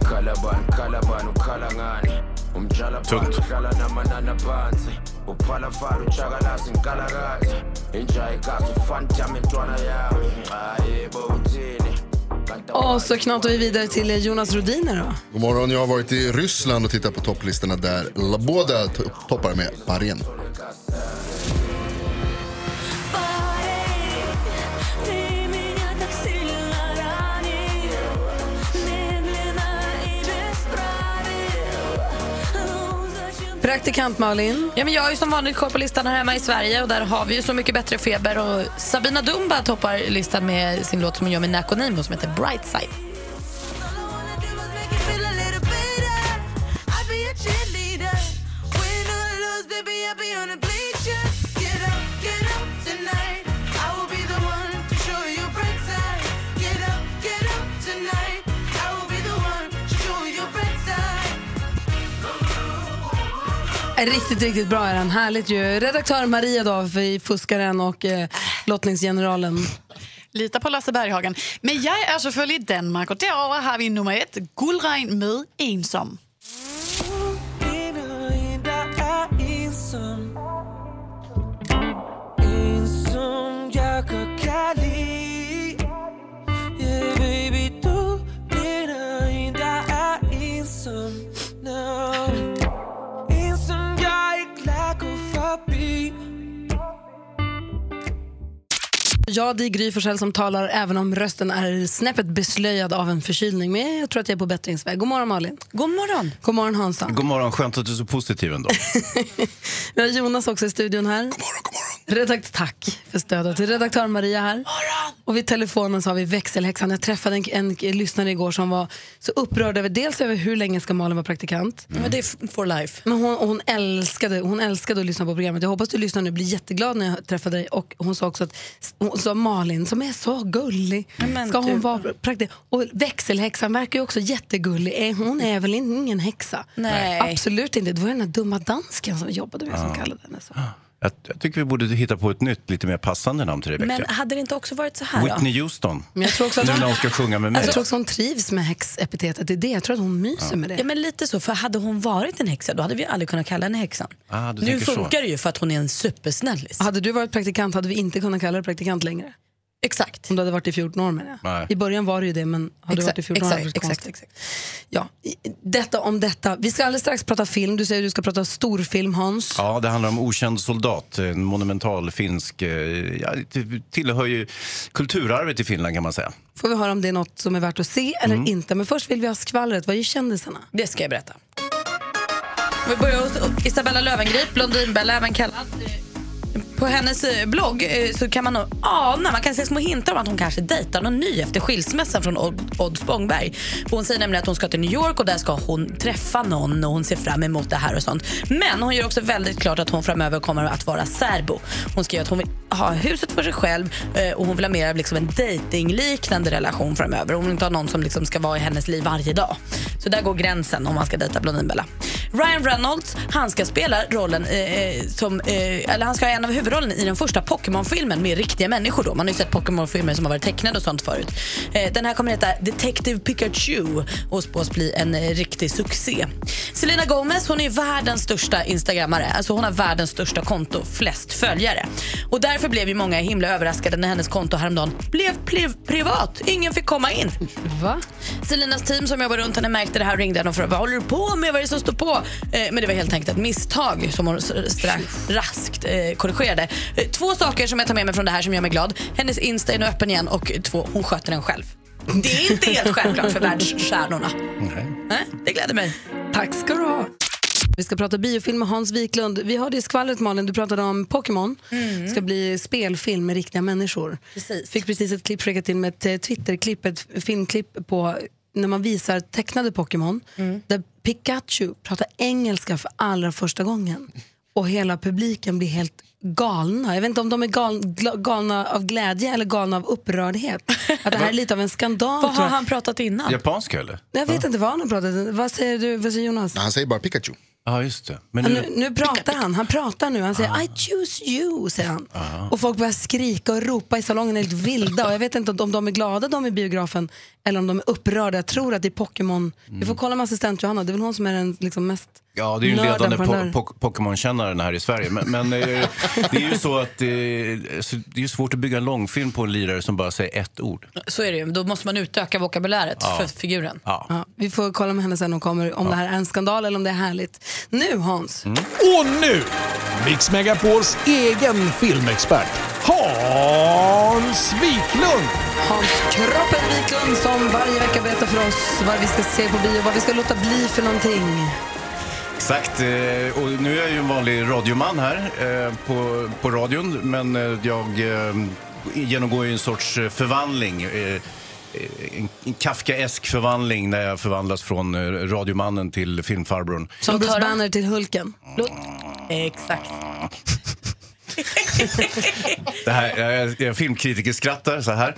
Kalaban, kalaban, ukhala ngani umjala phansi dlala namanana phansi uphala fara utshakalasi nkalakati injayikazi ufanitame ntwana yami hayi bo uthini Och så knatar vi vidare till Jonas Rodiner då. God morgon, jag har varit i Ryssland och tittat på topplistorna där. La- Båda to- toppar med Bahrain. Praktikant Malin. Ja, men jag har ju som vanligt koll på listan här hemma i Sverige och där har vi ju Så mycket bättre feber och Sabina Dumba toppar listan med sin låt som hon gör med Naco Nimo som heter Bright Side. Riktigt, riktigt bra är den. Härligt ju. Redaktör Maria då, för fuskaren och eh, lottningsgeneralen. Lita på Lasse Berghagen. Men jag är selvfølgelig i Danmark och derover har vi nummer ett, Guldregn med Ensom. En og en, der er ensom. Ensom, jeg godt kan lide. Yeah, baby, du ligner en, der er ensom. No. Ensom, jeg ikke lader gå forbi. Ja, det är Gry Forssell som talar även om rösten är snäppet beslöjad av en förkylning. Men jag tror att jag är på bättringsväg. God morgon Malin. God morgon. God morgon Hansa. God morgon, skönt att du är så positiv ändå. Vi har Jonas också i studion här. God morgon, god morgon. Redakt- tack för stödet. Redaktör Maria här. Morgon. Och vid telefonen så har vi växelhäxan. Jag träffade en, en k- lyssnare igår som var så upprörd över dels över hur länge ska Malin vara praktikant. Men det är for life. Men hon, och hon, älskade, hon älskade att lyssna på programmet. Jag hoppas du lyssnar nu och blir jätteglad när jag träffar dig. Och hon sa också att hon sa Malin som är så gullig, men ska hon du- vara praktikant? Och växelhäxan verkar ju också jättegullig. Eh, Hon är väl in- ingen häxa? Nej. Absolut inte. Det var den där dumma dansken som vi jobbade med som kallade henne så. Jag, jag tycker vi borde hitta på ett nytt, lite mer passande namn till Rebecca. Men hade det inte också varit så här då? Whitney Houston. Men jag tror också att nu hon- när hon ska sjunga med mig. Jag tror också hon trivs med häxepitetet. Det är det. Jag tror att hon myser med det. Alltså- Ja, men lite så. För hade hon varit en häxa, då hade vi aldrig kunnat kalla henne häxan. Ah, du nu tänker så. funkar det ju för att hon är en supersnällis. Hade du varit praktikant hade vi inte kunnat kalla dig praktikant längre. Exakt. Om du hade varit i 14 år menar jag. Nej. I början var det ju det men hade du varit i 14 år hade det varit konstigt. Ja, i- detta om detta. Vi ska alldeles strax prata film. Du säger att du ska prata storfilm Hans. Ja, det handlar om Okänd soldat, en monumental finsk... eh, Ja, det tillhör ju kulturarvet i Finland kan man säga. Får vi höra om det är något som är värt att se eller Mm. inte. Men först vill vi ha skvallret. Vad är kändisarna? Det ska jag berätta. Vi börjar hos Isabella Löwengrip, Blondinbella även kallad. På hennes eh, blogg eh, så kan man nog ana, man kan se små hintar om att hon kanske dejtar någon ny efter skilsmässan från Od- Odd Spångberg. Hon säger nämligen att hon ska till New York och där ska hon träffa någon och hon ser fram emot det här och sånt. Men hon gör också väldigt klart att hon framöver kommer att vara särbo. Hon skriver att hon vill ha huset för sig själv eh, och hon vill ha mer av liksom en dejtingliknande relation framöver. Hon vill inte ha någon som liksom ska vara i hennes liv varje dag. Så där går gränsen om man ska dejta Blondinbella. Ryan Reynolds, han ska spela rollen eh, eh, som, eh, eller han ska ha en av huvudrollen i den första Pokémon-filmen med riktiga människor då. Man har ju sett Pokémon-filmer som har varit tecknade och sånt förut. Eh, den här kommer heta Detective Pikachu och spås bli en eh, riktig succé. Selena Gomez, hon är ju världens största instagrammare. Alltså hon har världens största konto, flest följare. Och därför blev ju många himla överraskade när hennes konto häromdagen blev pliv- privat. Ingen fick komma in. Va? Selinas team som jobbar runt henne märkte det här och ringde henne och frågade vad håller du på med? Vad är det som står på? Eh, men det var helt enkelt ett misstag som hon strax, raskt eh, korrigerade. Eh, två saker som jag tar med mig från det här som gör mig glad. Hennes Insta är nu öppen igen och två, hon sköter den själv. Det är inte helt självklart för världsstjärnorna. Nej, det gläder mig. Tack ska du ha. Vi ska prata biofilm med Hans Wiklund. Vi hörde i skvallret Malin, du pratade om Pokémon. Mm. ska bli spelfilm med riktiga människor. Precis. Fick precis ett klipp skickat till med ett eh, Twitterklipp, ett filmklipp på när man visar tecknade Pokémon. Mm. Där Pikachu pratar engelska för allra första gången. Och hela publiken blir helt galna. Jag vet inte om de är gal, gla- galna av glädje eller galna av upprördhet. Att det här är lite av en Vad skandal. tror har jag. han pratat innan? Japanska eller? Jag vet inte vad han har pratat. Vad säger du, vad säger Jonas? Han säger bara Pikachu. Ja, just det. Men Ah. nu, nu pratar han, han pratar nu. Han säger I choose you, säger han. Och folk börjar skrika och ropa i salongen, är helt vilda. Och jag vet inte om de är glada de i biografen eller om de är upprörda. Jag tror att det är Pokémon. Vi får kolla med assistent Johanna, det är väl hon som är den liksom, mest... Mm. Ja, det är ju den Nörden ledande på po- den där. po- Pokémon-kännaren här i Sverige. Men, men eh, det är ju så att eh, så det är ju svårt att bygga en långfilm på en lirare som bara säger ett ord. Så är det ju. Då måste man utöka vokabuläret Ja. för figuren. Ja. Ja, vi får kolla med henne sen hon kommer, om det här är en skandal eller om det är härligt. Nu Hans, Mm. Och nu, Mix Megapols egen filmexpert, Hans Wiklund! Hans Kroppen Wiklund som varje vecka berättar för oss vad vi ska se på bio, vad vi ska låta bli för någonting. Exakt. eh, Och nu är jag ju en vanlig radioman här eh, på, på radion, men eh, jag eh, genomgår ju en sorts eh, förvandling. eh, eh, En en Kafkaesk förvandling när jag förvandlas från eh, radiomannen till filmfarbrorn. Som Bruce Banner till Hulken. Exakt. Det här, jag, jag filmkritiker skrattar så här.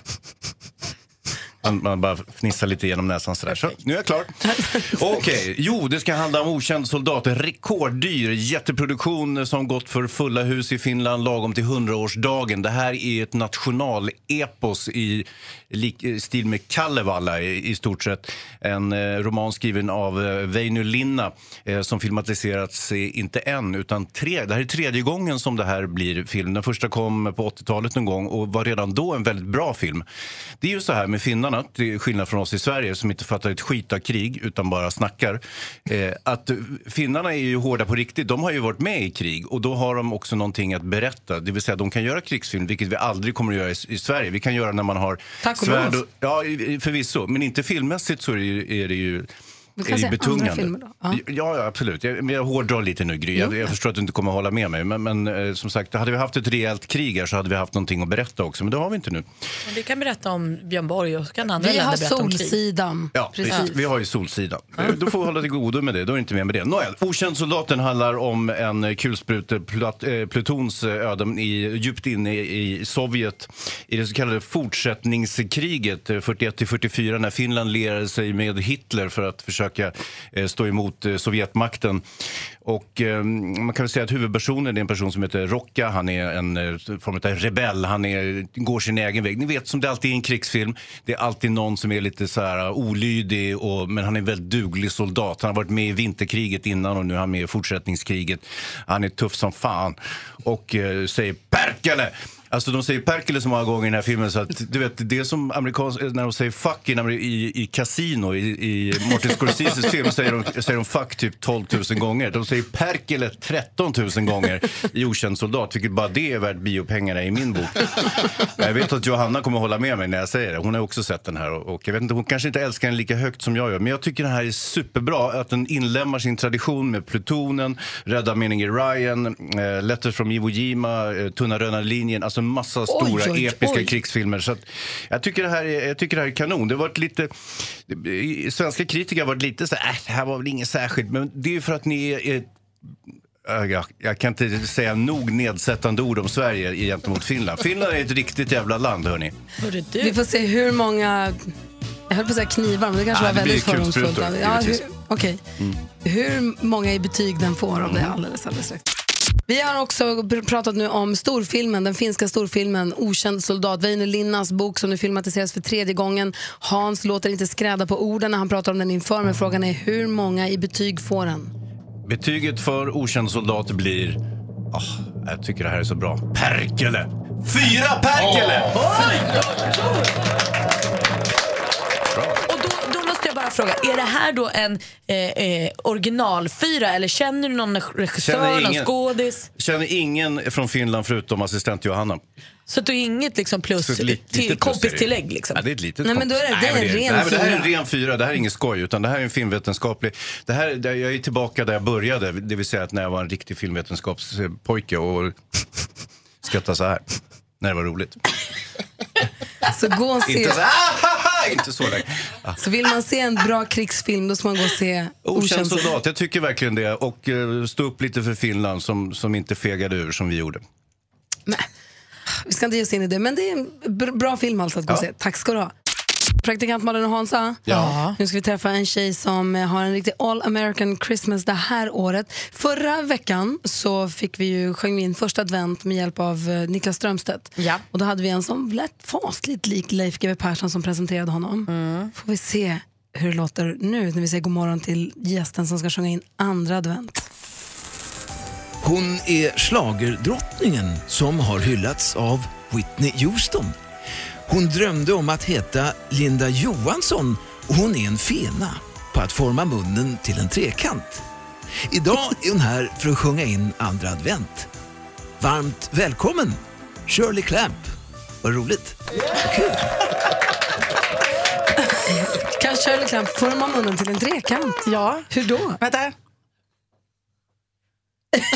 Man, man bara fnissar lite genom näsan sådär. Så, nu är jag klar. Okej, jo det ska handla om okänd soldat. Rekorddyr jätteproduktion som gått för fulla hus i Finland lagom till 100-årsdagen. Det här är ett nationalepos i lik, eh, stil med Kalevala i, i stort sett. En eh, roman skriven av eh, Väinö Linna eh, som filmatiserats eh, inte en utan tre. Det här är tredje gången som det här blir film. Den första kom på 80-talet någon gång och var redan då en väldigt bra film. Det är ju så här med finnarna, till skillnad från oss i Sverige som inte fattar ett skit av krig utan bara snackar. Eh, att eh, finnarna är ju hårda på riktigt. De har ju varit med i krig och då har de också någonting att berätta. Det vill säga de kan göra krigsfilm, vilket vi aldrig kommer att göra i, i Sverige. Vi kan göra när man har Tack och lov. ja, i- i- förvisso. Men inte filmmässigt så är det ju, är det ju Vi kan är se det betungande? andra filmer då. Ja. Ja, absolut. Jag, men jag hårdrar lite nu, Gry. Jag, jag förstår att du inte kommer att hålla med mig. Men, men eh, som sagt, hade vi haft ett rejält krig här så hade vi haft någonting att berätta också. Men det har vi inte nu. Men Vi kan berätta om Björn Borg och så kan andra Vi länder har berätta om krig. Solsidan. Ja, visst, vi har ju Solsidan. Eh, Då får vi hålla till godo med det. Då är det inte med med det. Nåja, Okänd soldaten handlar om en eh, kulsprutepluton's öden eh, i, djupt inne i i Sovjet i det så kallade fortsättningskriget eh, 41-44 när Finland lerade sig med Hitler för att försöka eh, stå emot eh, Sovjetmakten. Och eh, man kan väl säga att huvudpersonen är en person som heter Rocka. Han är en eh, form av rebell. Han är, går sin egen väg. Ni vet som det alltid är i en krigsfilm. Det är alltid någon som är lite så här eh, olydig. Och, men han är en väldigt duglig soldat. Han har varit med i vinterkriget innan och nu är han med i fortsättningskriget. Han är tuff som fan. Och eh, säger Perkele! Alltså de säger Perkele så många gånger i den här filmen så att du vet, det är som amerikans, när de säger fuck i, i, i Casino i, i Martin Scorseses film säger de, säger de fuck typ 12 000 gånger. De säger Perkele 13 000 gånger i Okänd soldat, vilket bara det är värt biopengarna i min bok. Jag vet att Johanna kommer hålla med mig när jag säger det. Hon har också sett den här. Och och jag vet inte, hon kanske inte älskar den lika högt som jag gör. Men jag tycker den här är superbra. Att den inlämnar sin tradition med Plutonen, Rädda meningen Ryan, eh, Letters from Iwo Jima, eh, Tunna röda linjen. Alltså en massa stora oj, episka oj. krigsfilmer. Så att, jag, tycker det här är, jag tycker det här är kanon. Det har varit lite, i- svenska kritiker har varit lite så här, äh, det här var väl inget särskilt. Men det är ju för att ni är är Äh, Jag, jag kan inte säga nog nedsättande ord om Sverige gentemot Finland. Finland är ett riktigt jävla land, hörni. Vi får se hur många... Jag höll på att säga knivar, men det kanske Ja, var det blir väldigt kulsprutor, fördomsfullt. av- Ja, hur, givetvis. Mm. okej. hur många i betyg den får av det alldeles, alldeles strax. Vi har också pr- pratat nu om storfilmen, den finska storfilmen Okänd soldat. Väinö Linnas bok som nu filmatiseras för tredje gången. Hans låter inte skräda på orden när han pratar om den inför, men frågan är hur många i betyg får den? Betyget för okänd soldat blir... Ah, jag tycker det här är så bra. Perkele! Fyra Perkele! Och då, då måste jag bara fråga, är det här då en eh, eh, originalfyra eller känner du någon regissör, Känner någon ingen. skådis? Känner ingen från Finland förutom assistent Johanna. Så att du är inget liksom plus, Så ett lit- litet till, plus är kompistillägg det. liksom? Ja, det är ett litet Nej, men kompis- då är det- det är men en ren nej, men Det här är en fyra. ren fyra. Det här är ingen skoj, utan det här är en filmvetenskaplig... Det här, det- jag är tillbaka där jag började, det vill säga att när jag var en riktig filmvetenskapspojke och skrattade så här. När det var roligt. Så gå och se. Inte så här, inte så länge. Ah. Så vill man se en bra krigsfilm, då ska man gå och se Okänd soldat, jag tycker verkligen det. Och eh, stå upp lite för Finland som, som inte fegade ur som vi gjorde. Vi ska inte ge oss in i det, men det är en br- bra film alltså att gå och se. Tack ska du ha. Praktikant Malin och Hansa, Ja. nu ska vi träffa en tjej som eh, har en riktig all American Christmas det här året. Förra veckan så fick vi ju, sjöng vi in första advent med hjälp av eh, Niklas Strömstedt. Och då hade vi en som lät fasligt lik Leif GW Persson som presenterade honom. Får vi se hur det låter nu när vi säger god morgon till gästen som ska sjunga in andra advent. Hon är schlagerdrottningen som har hyllats av Whitney Houston. Hon drömde om att heta Linda Johansson och hon är en fena på att forma munnen till en trekant. Idag är hon här för att sjunga in andra advent. Varmt välkommen, Shirley Clamp. Vad roligt. Vad kul. Kan Shirley Clamp forma munnen till en trekant? Ja. Hur då? Vänta.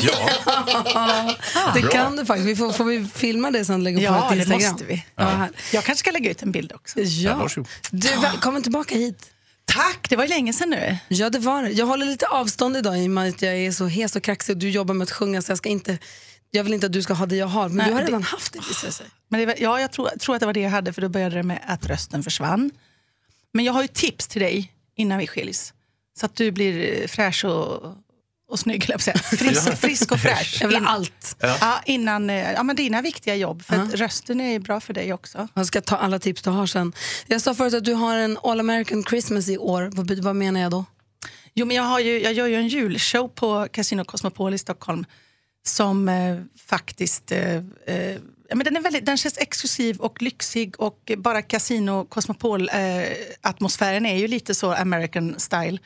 Ja. det Bra. kan du faktiskt. Vi får, får vi filma det sen och lägga på Ja, vårt det Instagram? måste vi. Ja. här. Jag kanske ska lägga ut en bild också. Ja. Du, välkommen tillbaka hit. Tack, det var ju länge sedan nu. Ja, det var det. Jag håller lite avstånd idag i och med att jag är så hes och kraxig och du jobbar med att sjunga så jag ska inte jag vill inte att du ska ha det jag har, men Nej, du har det- redan haft det visar det sig. Men det var, ja, jag tror, tror att det var det jag hade, för då började det med att rösten försvann. Men jag har ju tips till dig innan vi skiljs. Så att du blir eh, fräsch och, och snygg, höll jag på att säga. Ja. Frisk, frisk och fräsch. Jag vill ha allt. Ja. Ja. innan, eh, ja, men dina viktiga jobb, för att rösten är ju bra för dig också. Jag ska ta alla tips du har sen. Jag sa förut att du har en All American Christmas i år. Vad, bet- vad menar jag då? Jo, men jag, har ju, jag gör ju en julshow på Casino Cosmopol i Stockholm som eh, faktiskt... Eh, eh, ja, men den, är väldigt, den känns exklusiv och lyxig och bara Casino Cosmopol-atmosfären är ju lite så American style.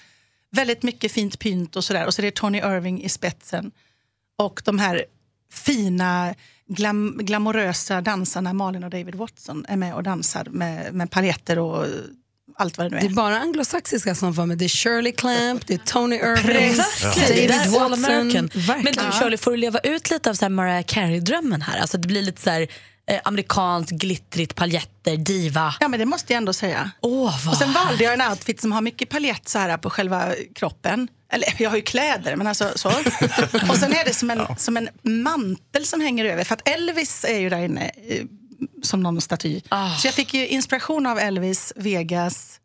Väldigt mycket fint pynt och sådär. Och så är det Tony Irving i spetsen. Och de här fina, glam, glamorösa dansarna Malin och David Watson är med och dansar med, med paljetter och allt vad det nu är. Det är bara anglosaxiska som var med. Det är Shirley Clamp, det är Tony Irving, Precis, det David är all Watson. American. Men Verkligen. du Shirley, får du leva ut lite av så här Mariah Carey-drömmen här? Alltså det blir lite så här eh, amerikanskt, glittrigt, paljetter, diva. Ja, men det måste jag ändå säga. Åh, vad Och sen valde jag en outfit som har mycket paljett så här på själva kroppen. Eller jag har ju kläder, men alltså så. Och sen är det som en, som en mantel som hänger över. För att Elvis är ju där inne eh, som någon staty. Ah. Så jag fick ju inspiration av Elvis, Vegas.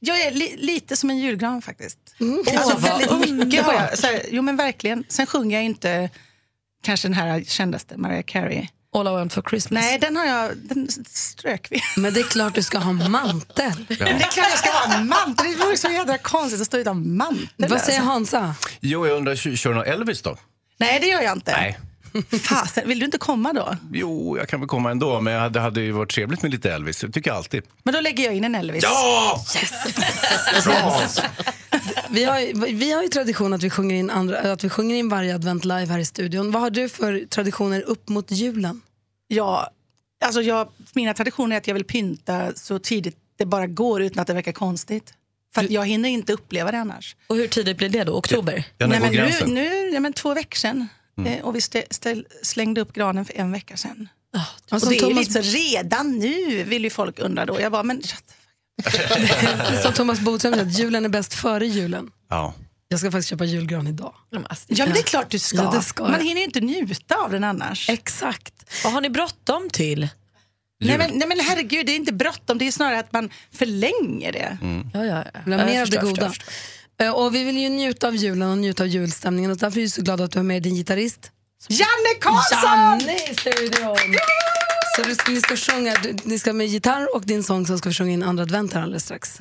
Jag är li, lite som en julgran faktiskt. alltså Mm. Åh, vad väldigt mycket har underbart. jag. Så här, jo men verkligen. Sen sjunger jag ju inte kanske den här kändaste, Mariah Carey. All I want for Christmas. Nej, den har jag, den strök vi. Men det är klart du ska ha mantel. Det är klart jag ska ha en mantel. Det vore så jädra konstigt att stå utan mantel. alltså. Vad säger Hansa? Jo, jag undrar, kö- kör du någon Elvis då? Nej, det gör jag inte. Nej. Fasen, vill du inte komma då? Jo, jag kan väl komma ändå, men det hade ju varit trevligt med lite Elvis. Det tycker jag alltid. Men då lägger jag in en Elvis. Ja! Bra! Vi har, ju- vi har ju tradition att vi, sjunger in andra, att vi sjunger in varje advent live här i studion. Vad har du för traditioner upp mot julen? Ja, alltså jag, mina traditioner är att jag vill pynta så tidigt det bara går utan att det verkar konstigt. För att jag hinner inte uppleva det annars. Och hur tidigt blir det då? Oktober? Ja, när Nej, men går nu, gränsen? nu, ja, men två veckor sedan. Mm. Eh, Och vi stä- ställ, slängde upp granen för en vecka sedan. och och som det är ju Thomas- lite så, redan nu vill ju folk undra då. Jag bara, men Som Thomas Bodström säger, att julen är bäst före julen. alltså. Ja. Jag ska faktiskt köpa julgran idag. Ja, men det är klart du ska. Ja, det ska Man jag. hinner ju inte njuta av den annars. Exakt. Vad har ni bråttom till? Nej men, nej men herregud, det är inte bråttom. Det är snarare att man förlänger det. Ja, ja, ja. Vill ha Ja, mer jag av det förstår, jag goda. förstår, Eh, Och vi vill ju njuta av julen och njuta av julstämningen och därför är vi så glada att du har med din gitarrist. Janne Karlsson! Janne i studion! Så du, ska- ni ska sjunga, du, ni ska med gitarr och din sång så ska vi sjunga in andra advent här alldeles strax.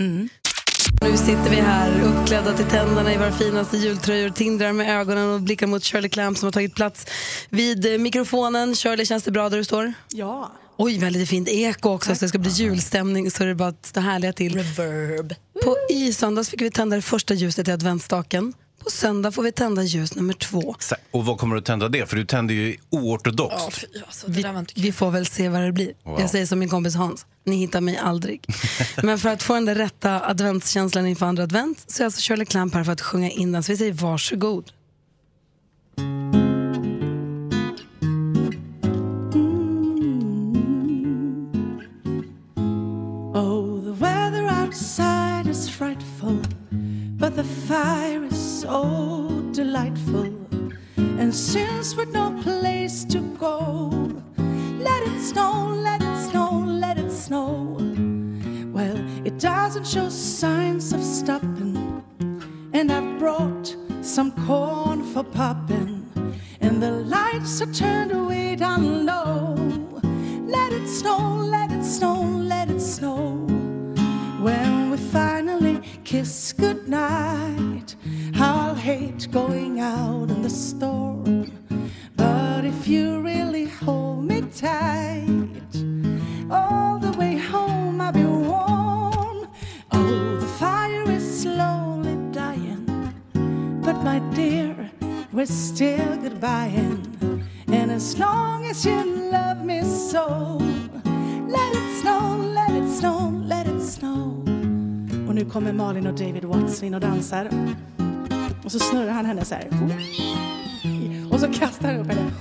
Nu sitter vi här uppklädda till tänderna i våra finaste jultröjor, tindrar med ögonen och blickar mot Shirley Clamp som har tagit plats vid eh, mikrofonen. Shirley, känns det bra där du står? Ja. Oj, vad lite fint eko också, så det ska bli julstämning så det är bara att stå härliga till. Reverb. På, I söndags fick vi tända det första ljuset i adventsstaken. På söndag får vi tända ljus nummer två. Sa- Och vad kommer du att tända det? För du tänder ju oortodoxt. Vi, vi får väl se vad det blir. Wow. Jag säger som min kompis Hans, ni hittar mig aldrig. Men för att få den där rätta adventskänslan inför andra advent så är alltså Shirley Clamp här för att sjunga in den. Så vi säger varsågod. Oh, the weather outside is frightful, but the fire is so delightful. And since we've no place to go, let it snow, let it snow, let it snow. Well, it doesn't show signs of stopping, and I've brought some corn for popping, and the lights are turned way down low. Let it snow, let it snow, let it snow. When we finally kiss goodnight, I'll hate going out in the storm. But if you really hold me tight, all the way home I'll be warm. Oh, the fire is slowly dying, but my dear, we're still goodbying. And as long as you love me so, let it snow, let it snow, let it snow. Och nu kommer Malin och David Watts in och dansar. Och så snurrar han henne så här. Och så kastar han upp henne.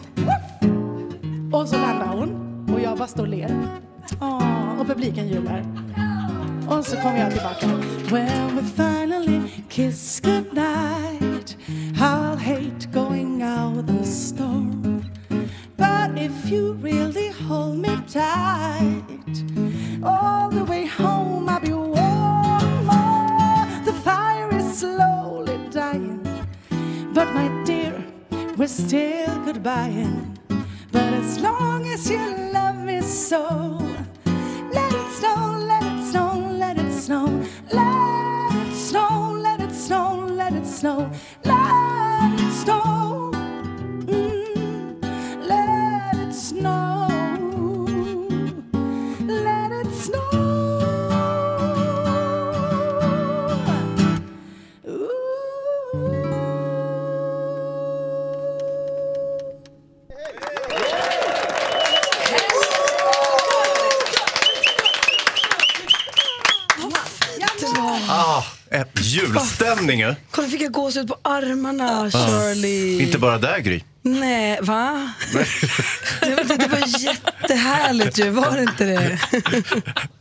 Och så landar hon. Och jag bara står och ler. Åh, och publiken jublar. Och så kommer jag tillbaka. When we finally kiss goodnight I'll hate going out in the storm But if you really hold me tight All the way home I'll be warm Oh, The fire is slowly dying But my dear, we're still goodbying But as long as you love me so let it snow, let it snow, let it snow. Let it snow, let it snow, let it snow. Let it snow. Mm. Let it snow. Let it snow. Ah. äpp- julstämning eh? ju. Kolla fick jag gåshud på armarna, Shirley. Ja. Ah. Inte bara där Gry. Nej, va? det, var, det var jättehärligt ju, var det inte det?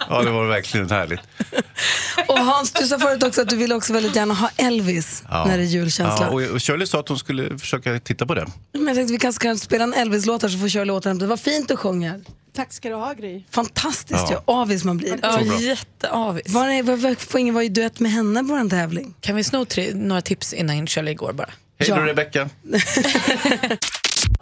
Ja, det var verkligen härligt. Och Hans, du sa förut också att du vill också väldigt gärna ha Elvis Ja. när det är julkänsla. Ja, och, och Shirley sa att hon skulle försöka titta på det. Men jag tänkte vi kanske kan spela en Elvis-låt här så får Shirley återhämta Vad fint du sjöng här. Tack ska du ha, Gry. Fantastiskt Ja. ju, avis man blir. Ja, Så bra. jätteavis. Var, är- var, var, får ingen vara i duett med henne på vår tävling? Kan vi sno tre, några tips innan Shirley går bara? Hej då Rebecca.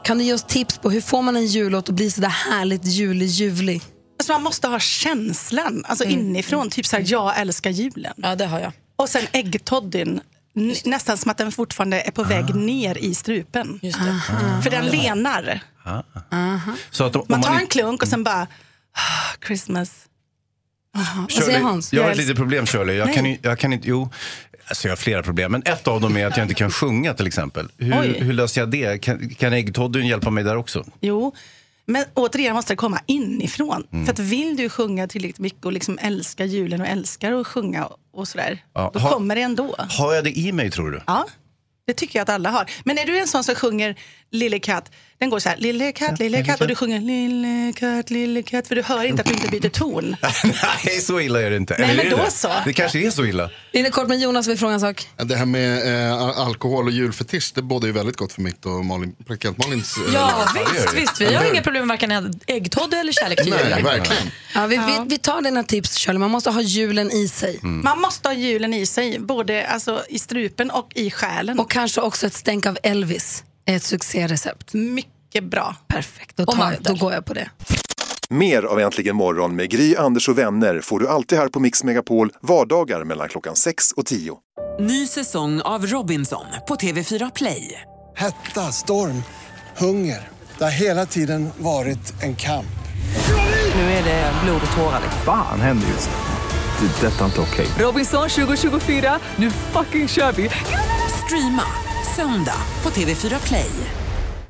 Kan du ge oss tips på hur får man en jullåt att bli sådär härligt julig juvlig? Alltså man måste ha känslan alltså Mm. inifrån. Typ så här, jag älskar julen. Ja, det har jag. Och sen äggtoddyn. N- Nästan som att den fortfarande är på Ah. väg ner i strupen. För den lenar. Ah. Så att om, om Man tar man Mm. en klunk och sen bara... "Ah, Christmas. Vad Shirley, Jag har ett litet problem Shirley. Jag Nej. kan, ju- jag kan inte, jo, alltså jag har flera problem. Men ett av dem är att jag inte kan sjunga till exempel. Oj. Hur, hur löser jag det? Kan, kan äggtoddyn hjälpa mig där också? Jo, men återigen måste det komma inifrån. Mm. För att vill du sjunga tillräckligt mycket och liksom älska julen och älskar att sjunga och sådär, Ja, då ha- kommer det ändå. Har jag det i mig tror du? Ja, det tycker jag att alla har. Men är du en sån som sjunger Lille katt, den går så här, Lille katt, lille lille katt, och du katt. sjunger Lille katt, lille katt, för du hör inte att du inte byter ton. Nej, så illa är det inte. Nej, men är det då det? så. Det kanske är så illa. Lille kort, men Jonas vill fråga en sak. Det här med eh, al- alkohol och julfetisch, det bådar ju väldigt gott för mitt och Malin, praktikant Malins... eh, Ja, det gör visst, det. Mm. visst. Vi har Eller inga hur? problem med varken äggtoddy eller kärlek till Nej, julen. verkligen. Ja, vi, Vi, vi tar dina tips Shirley, man måste ha julen i sig. Mm. Man måste ha julen i sig, både alltså, i strupen och i själen. Och kanske också ett stänk av Elvis är ett succérecept. Mycket bra. Perfekt, då, tar, då går jag på det. Mer av Äntligen morgon med Gry, Anders och vänner får du alltid här på Mix Megapol vardagar mellan klockan 6 och 10. Ny säsong av Robinson på TV4 Play. Hetta, storm, hunger. Det har hela tiden varit en kamp. Nu är det blod och tårar. liksom. Fan händer just nu. Det. är Detta är inte okej. Robinson 2024, nu fucking kör vi! Streama söndag på TV4 Play.